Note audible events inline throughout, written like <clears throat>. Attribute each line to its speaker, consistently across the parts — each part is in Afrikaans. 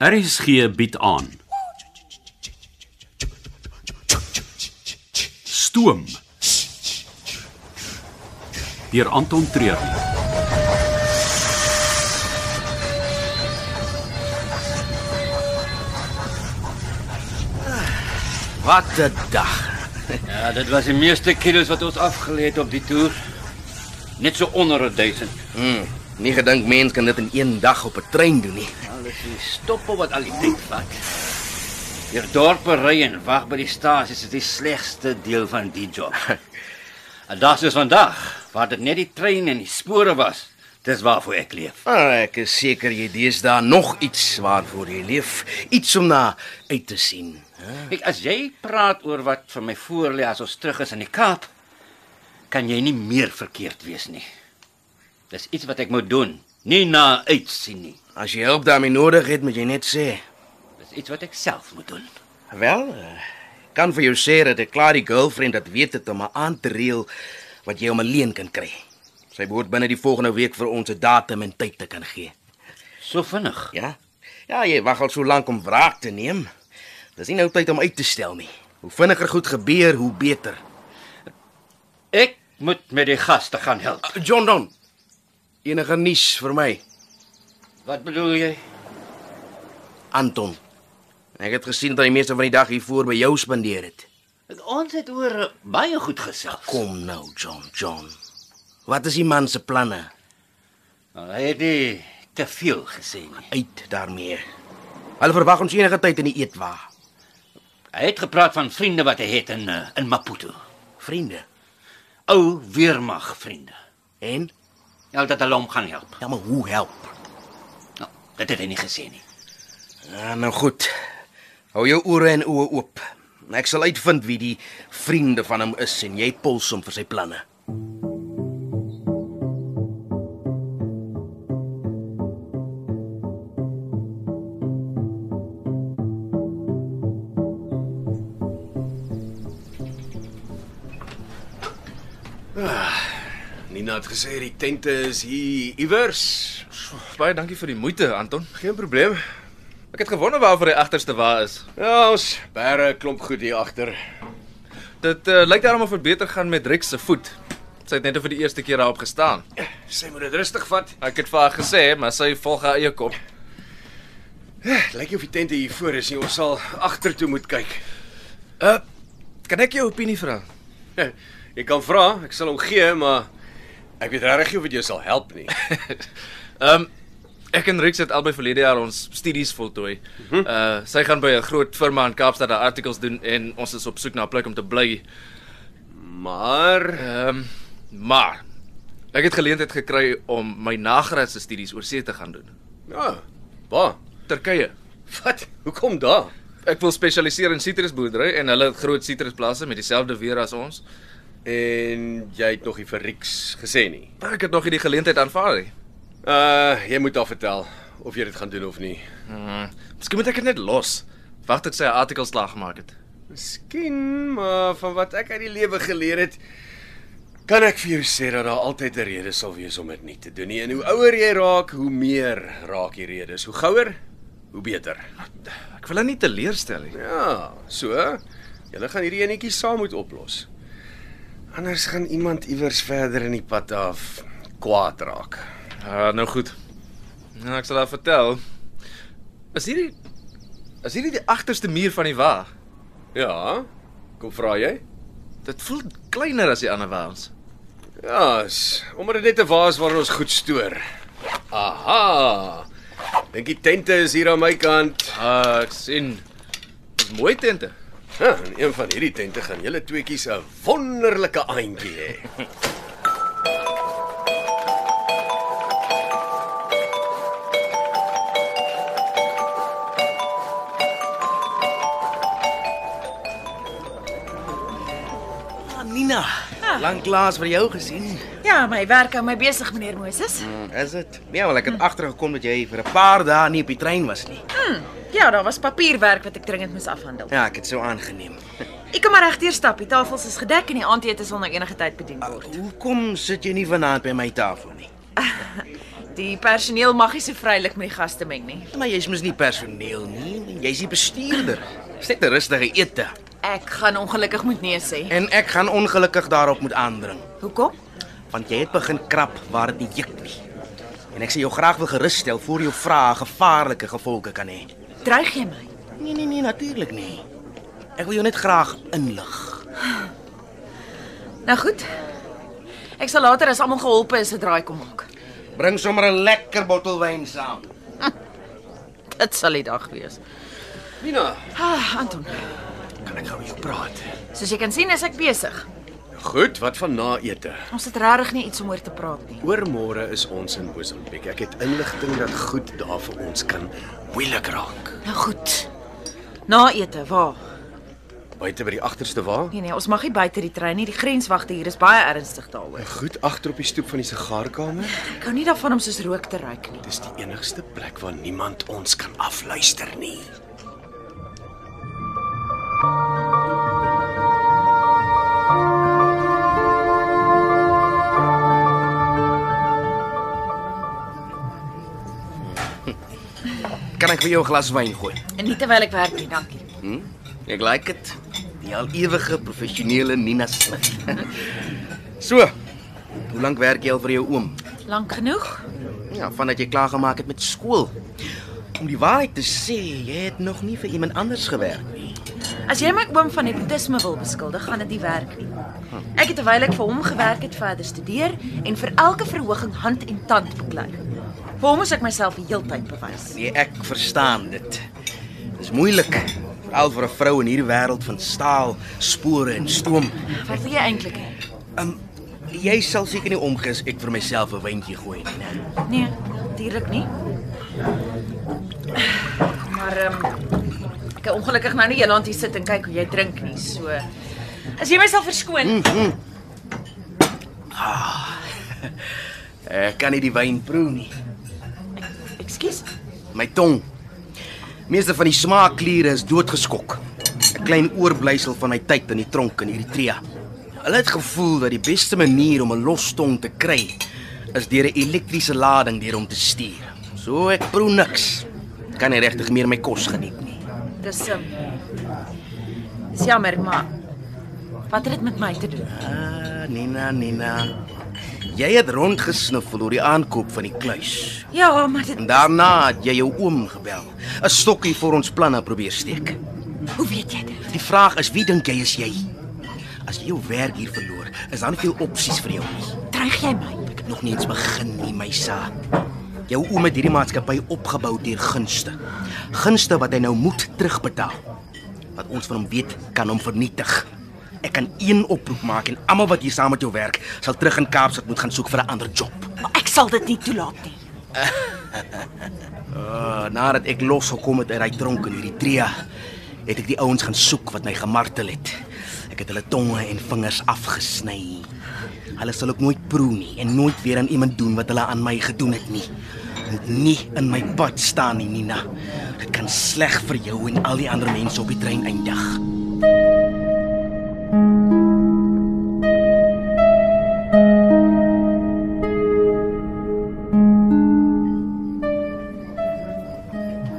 Speaker 1: RSG bied aan. Stoom. Deur Anton Treuer.
Speaker 2: Wat 'n dag.
Speaker 3: Ja, dit was die meeste kilos wat ons afgelê het op die toer. Net so onder 'n 1000.
Speaker 2: Hm, nie gedink mens kan dit in een dag op 'n trein doen nie.
Speaker 3: Alles die stoppe wat al die tyd vat. Hier dorpe ry en wag by die stasies is die slegste deel van die
Speaker 2: <laughs>
Speaker 3: job. En dit is vandag waar dit net die trein en die spore was. Dis waarvoor ek leef.
Speaker 2: Maar ek is seker jy deesdae nog iets waarvoor jy leef, iets om na uit te sien.
Speaker 3: Kyk, as jy praat oor wat vir my voor lê as ons terug is in die Kaap, kan jy nie meer verkeerd wees nie. Dis iets wat ek moet doen, nie na uitsien nie.
Speaker 2: As jy hulp daarmee nodig het, moet jy net sê.
Speaker 3: Dis iets wat ek self moet doen.
Speaker 2: Wel, eh, ek kan vir jou sê dat ek klaar die girlfriend wat weet het om haar aan te reël wat jy hom alleen kan kry. Sy behoort binne die volgende week vir ons 'n datum en tyd te kan gee.
Speaker 3: So vinnig.
Speaker 2: Ja. Ja, jy wag al so lank om wraak te neem. Dis nie nou tyd om uit te stel nie. Hoe vinniger goed gebeur, hoe beter.
Speaker 3: Ek moet met die gaste gaan help.
Speaker 2: Uh, John Don. Enige nuus vir my,
Speaker 3: Wat bedoel jy?
Speaker 2: Anton? Ek het gesien dat jy meeste van die dag hier voor by jou spandeer het.
Speaker 3: Ons het oor eh, baie goed gesels.
Speaker 2: Kom nou, John, John. Wat is die man se planne?
Speaker 3: Nou, Hy het nie te veel gesê nie.
Speaker 2: Uit daarmee. Hulle verwag ons enige tyd in die eetwa.
Speaker 3: Hy het gepraat van vriende wat hy het in eh, in Maputo.
Speaker 2: Vriende.
Speaker 3: Ou weermag vriende.
Speaker 2: En
Speaker 3: Ja, dat hulle hom gaan help.
Speaker 2: ja, maar hoe help?
Speaker 3: Nou, dit het hy nie gesê nie.
Speaker 2: Ja, nou goed. Hou jou ore en oë oop. Ek sal uitvind wie die vriende van hom is en jy pols hom vir sy planne.
Speaker 4: Ah, Nina het gesê die tente is hier iewers.
Speaker 5: Baie dankie vir die moeite, Anton.
Speaker 4: Geen probleem.
Speaker 5: Ek het gewonder waarvoor hy agterste wa is.
Speaker 4: Ja, ons bære 'n klomp goed hier agter.
Speaker 5: Dit uh, lyk daarom of dit beter gaan met Rex se voet. Sy het net vir die eerste keer daarop gestaan.
Speaker 4: Sy moet dit rustig vat.
Speaker 5: Ek het vir haar gesê, maar sy volg haar eie kop.
Speaker 4: Lyk of die tente hier voor is nie. Ons sal agtertoe moet kyk. <laughs>
Speaker 5: Uh, kan ek jou opinie vra?
Speaker 4: Jy kan vra, ek sal hom gee, maar ek weet regtig nie of dit jou sal help nie.
Speaker 5: Ehm um, ek en Rex het albei verlede jaar ons studies voltooi. Uh sy gaan by 'n groot firma in Kaapstad haar artikels doen en ons is op soek na 'n plek om te bly.
Speaker 4: Maar
Speaker 5: Ehm um, maar ek het geleentheid gekry om my nagraadse studies oor see te gaan doen.
Speaker 4: ja, ba.
Speaker 5: Turkye.
Speaker 4: Wat? Hoekom daar?
Speaker 5: Ek wil spesialiseer in sitrusboerdery en hulle het groot sitrusplase met dieselfde weer as ons.
Speaker 4: En jy het nog nie vir Rieks gesê nie.
Speaker 5: Maar ek het nog nie die geleentheid aanvaar nie.
Speaker 4: Uh, jy moet haar vertel of jy dit gaan doen of nie.
Speaker 5: Hmm. Miskien moet ek dit net los. Wag tot sy 'n artikel slaag gemaak het.
Speaker 4: Miskien, maar van wat ek uit die lewe geleer het, kan ek vir jou sê dat daar altyd 'n rede sal wees om dit nie te doen nie. En hoe ouer jy raak, hoe meer raak die redes. Hoe gouer, hoe beter.
Speaker 5: Ek wil haar nie teleurstel nie.
Speaker 4: Ja, so julle gaan hierdie enetjie saam moet oplos. Anders gaan iemand iewers verder in die pad af kwaad raak.
Speaker 5: Ja, nou goed. Nou ek sal haar vertel. Is hierdie Is hierdie die agterste muur van die wa?
Speaker 4: Ja. Kom vra jy?
Speaker 5: Dit voel kleiner as die ander waans.
Speaker 4: Ja, is omdat dit net 'n waas waarin ons goed stoor. Aha. Dink die tente is hier aan my kant.
Speaker 5: Ah, ek sien. Dis mooi tente. <clears throat>
Speaker 4: Ja, in een van hierdie tente gaan julle tweeetjies 'n wonderlike aandjie hê.
Speaker 2: Ah, Nina, lanklaas vir jou gesien.
Speaker 6: Ja, my werk hou my besig, meneer Moses.
Speaker 2: Is dit? Ja, wel ek het agtergekom dat jy vir 'n paar dae nie op die trein was nie.
Speaker 6: Ja, daar was papierwerk wat ek dringend moes afhandel.
Speaker 2: Ja, ek het so aangeneem.
Speaker 6: Ek kan maar regdeur stap. Die tafels is gedek en die aandete sal nou enige tyd bedien word.
Speaker 2: Hoekom sit jy nie vanaand by my tafel nie?
Speaker 6: Die personeel mag nie so vrylik met die gaste meng nie.
Speaker 2: Maar jy's mos nie personeel nie, jy's die bestuurder. Dis net 'n rustige ete
Speaker 6: Ek gaan ongelukkig moet nee sê.
Speaker 2: en ek gaan ongelukkig daarop moet aandring,
Speaker 6: Hoekom?
Speaker 2: want jy het begin krap waar dit nie juk nie. En ek sê jou graag wil gerusstel voor jou vrae gevaarlike gevolge kan hê.
Speaker 6: Dreig jy my?
Speaker 2: Nee nee nee, natuurlik nie. Ek wil jou net graag inlig.
Speaker 6: Nou goed. Ek sal later as almal geholpe is 'n draai kom maak.
Speaker 2: Bring sommer 'n lekker bottel wyn saam.
Speaker 6: Dit sal die dag wees.
Speaker 4: Mina,
Speaker 6: Ah, Anton,
Speaker 4: kan ek gou met jou praat?
Speaker 6: soos jy kan sien is ek besig.
Speaker 4: Goed, wat van na ete?
Speaker 6: Ons het regtig nie iets om oor te praat nie.
Speaker 4: Oormôre is ons in Mosambiek. Ek het inligting dat goed daar vir ons kan moeilik raak.
Speaker 6: Nou goed. Na ete, waar?
Speaker 4: Buite by die agterste wa?
Speaker 6: Nee nee, ons mag nie buite die trein nie. Die grenswagte hier is baie ernstig daaroor.
Speaker 4: Nou Goed agter op die stoep van die sigaarkamer.
Speaker 6: Ek hou nie daarvan om soos rook te ruik nie.
Speaker 4: Dis die enigste plek waar niemand ons kan afluister nie.
Speaker 2: Kan ek vir jou 'n glas wyn gooi?
Speaker 6: En nie terwyl ek werk nie, dankie.
Speaker 2: Ek like dit. Die al ewige professionele Nina <laughs> Smith. so. Hoe lank werk jy al vir jou oom?
Speaker 6: Lank genoeg?
Speaker 2: Ja, vandat jy klaar gemaak het met skool. Om die waarheid te sê, jy het nog nie vir iemand anders gewerk nie.
Speaker 6: As jy my oom van nepotisme wil beskuldig, gaan dit nie werk nie. Ek het terwyl ek vir hom gewerk het, verder studeer en vir elke verhoging hand en tand beklei. Vir hom moes ek myself die heeltyd bewys.
Speaker 2: Nee, ek verstaan dit. Dis moeilik, veral vir 'n vrou in hierdie wêreld van staal, spore en stoom.
Speaker 6: Wat wil jy eintlik hê?
Speaker 2: Um, jy sal seker nie omgee as ek vir myself 'n wyntjie gooi nie, né?
Speaker 6: Nee, natuurlik nie. Maar ehm um, ek kan ongelukkig nou nie eendag hier sit en kyk hoe jy drink nie. So as jy myself verskoon,
Speaker 2: Ek kan nie die wyn proe nie.
Speaker 6: ekskuus.
Speaker 2: My tong. Meeste van die smaakkliere is doodgeskok. 'n Klein oorblyfsel van my tyd in die tronk in Eritrea. Hulle het gevoel dat die beste manier om 'n los tong te kry is deur 'n elektriese lading deur hom te stuur. So ek proe niks. Ek Kan nie regtig meer my kos geniet nie.
Speaker 6: Dis ehm Dis jammer, maar wat het dit met my te doen?
Speaker 2: Ah, Nina, Nina. Jy het rondgesniffel oor die aankoop van die kluis.
Speaker 6: Ja, maar dit
Speaker 2: En daarna het jy jou oom gebel. 'n Stokkie vir ons planne probeer steek.
Speaker 6: Hoe weet jy dit?
Speaker 2: Die vraag is wie dink jy is jy? As jy jou werk hier verloor, is daar nie veel opsies vir jou nie.
Speaker 6: Dreig jy my?
Speaker 2: Ek het nog nie eens begin nie, my saad. Jou oom het hierdie maatskappy opgebou deur gunste. Gunste wat hy nou moet terugbetaal. Wat ons van hom weet, kan hom vernietig. Ek kan een oproep maak en almal wat hier saam met jou werk, sal terug in Kaapstad moet gaan soek vir 'n ander job.
Speaker 6: Maar ek sal dit nie toelaat nie.
Speaker 2: Uh, nadat ek losgekom het uit daai tronk in Eritrea, het ek die ouens gaan soek wat my gemartel het. Ek het hulle tonge en vingers afgesny. Hulle sal ook nooit proe nie en nooit weer aan iemand doen wat hulle aan my gedoen het nie. Moet nie in my pad staan nie, Nina. Dit kan sleg vir jou en al die ander mense op die trein eindig.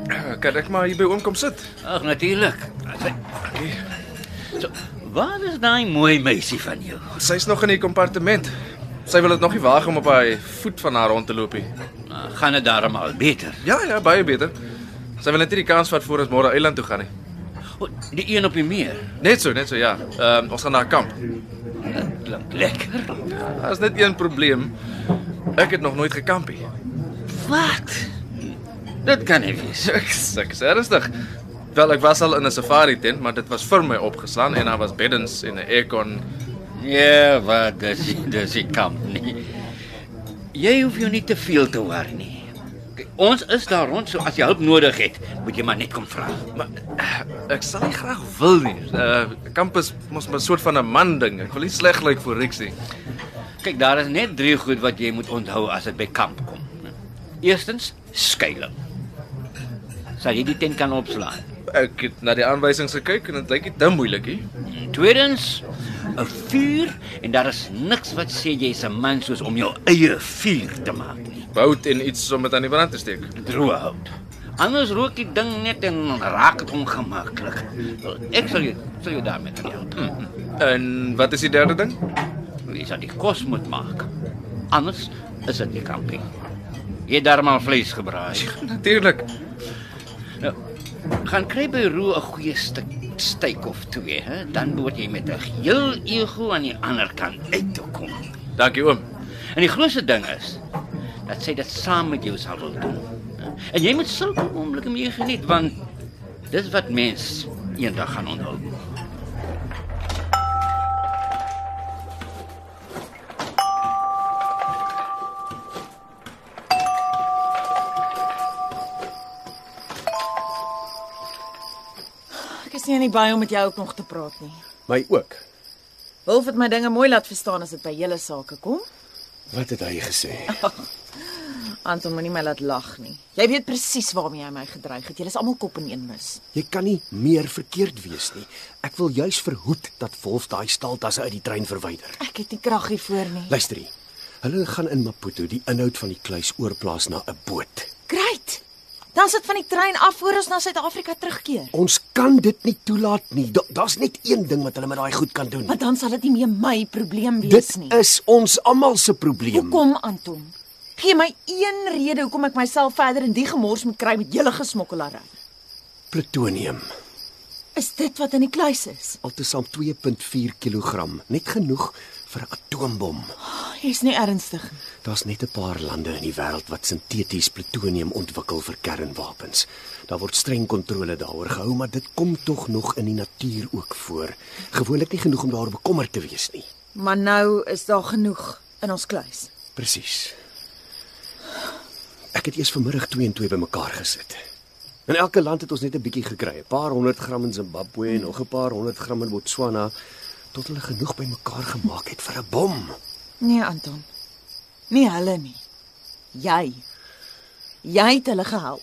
Speaker 5: Eh, Kan ek maar hier by oom kom sit?
Speaker 3: Ag natuurlik. So, wat is daai mooi meisie van jou?
Speaker 5: Sy's nog in die kompartement. Sy wil dit nog nie waag om op haar voet van haar rond te loop nie.
Speaker 3: Nou, gaan dit darm al beter.
Speaker 5: Ja, ja, baie beter. Sy wil net nie die kans vat voor ons môre eiland toe gaan nie.
Speaker 3: O, die een op die meer.
Speaker 5: Net so, net so ja. Ehm um, ons gaan na 'n kamp.
Speaker 3: Klink lekker.
Speaker 5: Daar's net een probleem. Ek het nog nooit gekamp nie.
Speaker 3: Wat? Dit kan nie wees.
Speaker 5: <laughs> Ek suk, is ernstig. Wel, ek was al in 'n safari tent, maar dit was vir my opgeslaan en daar was beddens en 'n aircon.
Speaker 3: Ja, wat dis dis ek kan nie. Jy hoef jou nie te veel te worry nie. Kyk, Ons is daar rond, so as jy hulp nodig het, moet jy maar net kom vra.
Speaker 5: Maar ek sal nie graag wil nie. Uh kamp is mos 'n soort van 'n man ding. Ek wil nie sleg lyk vir Rex nie.
Speaker 3: Kyk, daar is net drie goed wat jy moet onthou as dit by kamp kom. Eerstens, skuilings. Sal jy die tent kan opslaan?
Speaker 5: Ek het na die aanwysings gekyk en dit lyk nie te moeilik nie.
Speaker 3: Tweedens, 'n vuur en daar is niks wat sê jy's 'n man soos om jou eie vuur te maak nie.
Speaker 5: hout en iets om dit aan die brand te steek.
Speaker 3: Droë hout. Anders rook die ding net en raak dit ongemaklik. Ek sal jou sal jou daarmee help. Hm.
Speaker 5: En wat is die derde ding? <laughs>
Speaker 3: Jy sal die kos moet maak. Anders is dit nie kampie. Jy het darmal vleis gebraai.
Speaker 5: Natuurlik.
Speaker 3: Nou, gaan kry by Roo 'n goeie stuk steak of twee, hè? Dan moet jy met 'n heel ego aan die ander kant uit toe kom.
Speaker 5: Dankie oom.
Speaker 3: En die grootste ding is dat sy dit saam met jou sal wil doen. hè. En jy moet sulke oomblikke mee geniet want dis wat mens eendag gaan onthou.
Speaker 6: Ek is nie in die baie om met jou ook nog te praat nie.
Speaker 4: My ook.
Speaker 6: Wolf het my dinge mooi laat verstaan as dit by julle sake kom.
Speaker 4: Wat het hy gesê?
Speaker 6: Anton moenie my laat lag nie. Jy weet presies waarmee hy my gedreig het. Julle is almal kop in een mis.
Speaker 7: Jy kan nie meer verkeerd wees nie. Ek wil juis verhoed dat Wolf daai staaltasse uit die trein verwyder.
Speaker 6: Ek het nie krag hiervoor nie.
Speaker 7: Luister hier. Hulle gaan in Maputo die inhoud van die kluis oorplaas na 'n boot.
Speaker 6: Great. Dan sit van die trein af voor ons na Suid-Afrika terugkeer.
Speaker 7: Ons kan dit nie toelaat nie. Da- Daar's net een ding wat hulle met daai goed kan doen.
Speaker 6: Maar dan sal dit nie meer my probleem wees
Speaker 7: Dit
Speaker 6: nie.
Speaker 7: is ons almal se probleem.
Speaker 6: Hoekom Anton? Gee my een rede hoekom ek myself verder in die gemors moet kry met julle gesmokkelary.
Speaker 7: Plutonium.
Speaker 6: Is dit wat in die kluis is?
Speaker 7: Altesaam 2.4 kg, net genoeg vir 'n atoombom.
Speaker 6: Jy's nie ernstig nie.
Speaker 7: Daar's net 'n paar lande in die wêreld wat sinteties plutonium ontwikkel vir kernwapens. Daar word streng kontrole daaroor gehou, maar dit kom tog nog in die natuur ook voor. Gewoonlik nie genoeg om daaroor bekommerd te wees nie.
Speaker 6: Maar nou is daar genoeg in ons kluis.
Speaker 7: Presies. Ek het eers vanmiddag 2 en 2 bymekaar gesit. In elke land het ons net 'n bietjie gekry, 'n paar 100 gram in Zimbabwe en nog 'n paar 100 gram in Botswana tot hulle genoeg bymekaar gemaak het vir 'n bom.
Speaker 6: Nee, Anton. Nie hulle nie. Jy. Jy het hulle gehelp.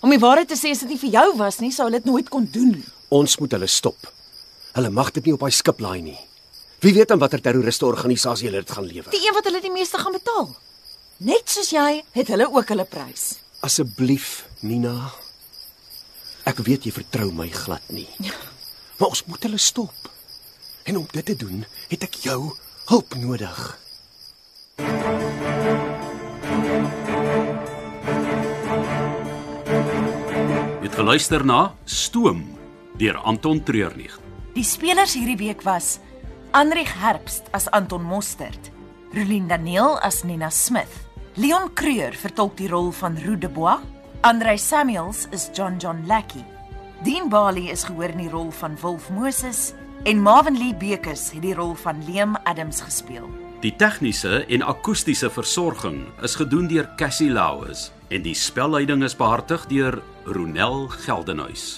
Speaker 6: Om die waarheid te sê, as dit nie vir jou was nie, sou hulle dit nooit kon doen nie.
Speaker 7: Ons moet hulle stop. Hulle mag dit nie op daai skip laai nie. Wie weet aan watter terroriste organisasie hulle dit gaan lewer.
Speaker 6: Die een wat hulle die meeste gaan betaal. Net soos jy, het hulle ook hulle prys.
Speaker 7: Asseblief, Nina. Ek weet jy vertrou my glad nie. Maar ons moet hulle stop. En om dit te doen, het ek jou hulp nodig.
Speaker 1: Jy het geluister na Stoom deur Anton Treurnig.
Speaker 8: Die spelers hierdie week was Anrich Herbst as Anton Mostert, Rolien Daniel as Nina Smith, Leon Creur vertolk die rol van Roo de Bois, Andrei Samuels is John John Lackey, Dean Bali is gehoor in die rol van Wolf Moses en Marvin Lee Bekes het die rol van Liam Adams gespeel.
Speaker 1: Die tegniese en akoestiese versorging is gedoen deur Cassie Lauis en die spelleiding is behartig deur Ronel Geldenhuys.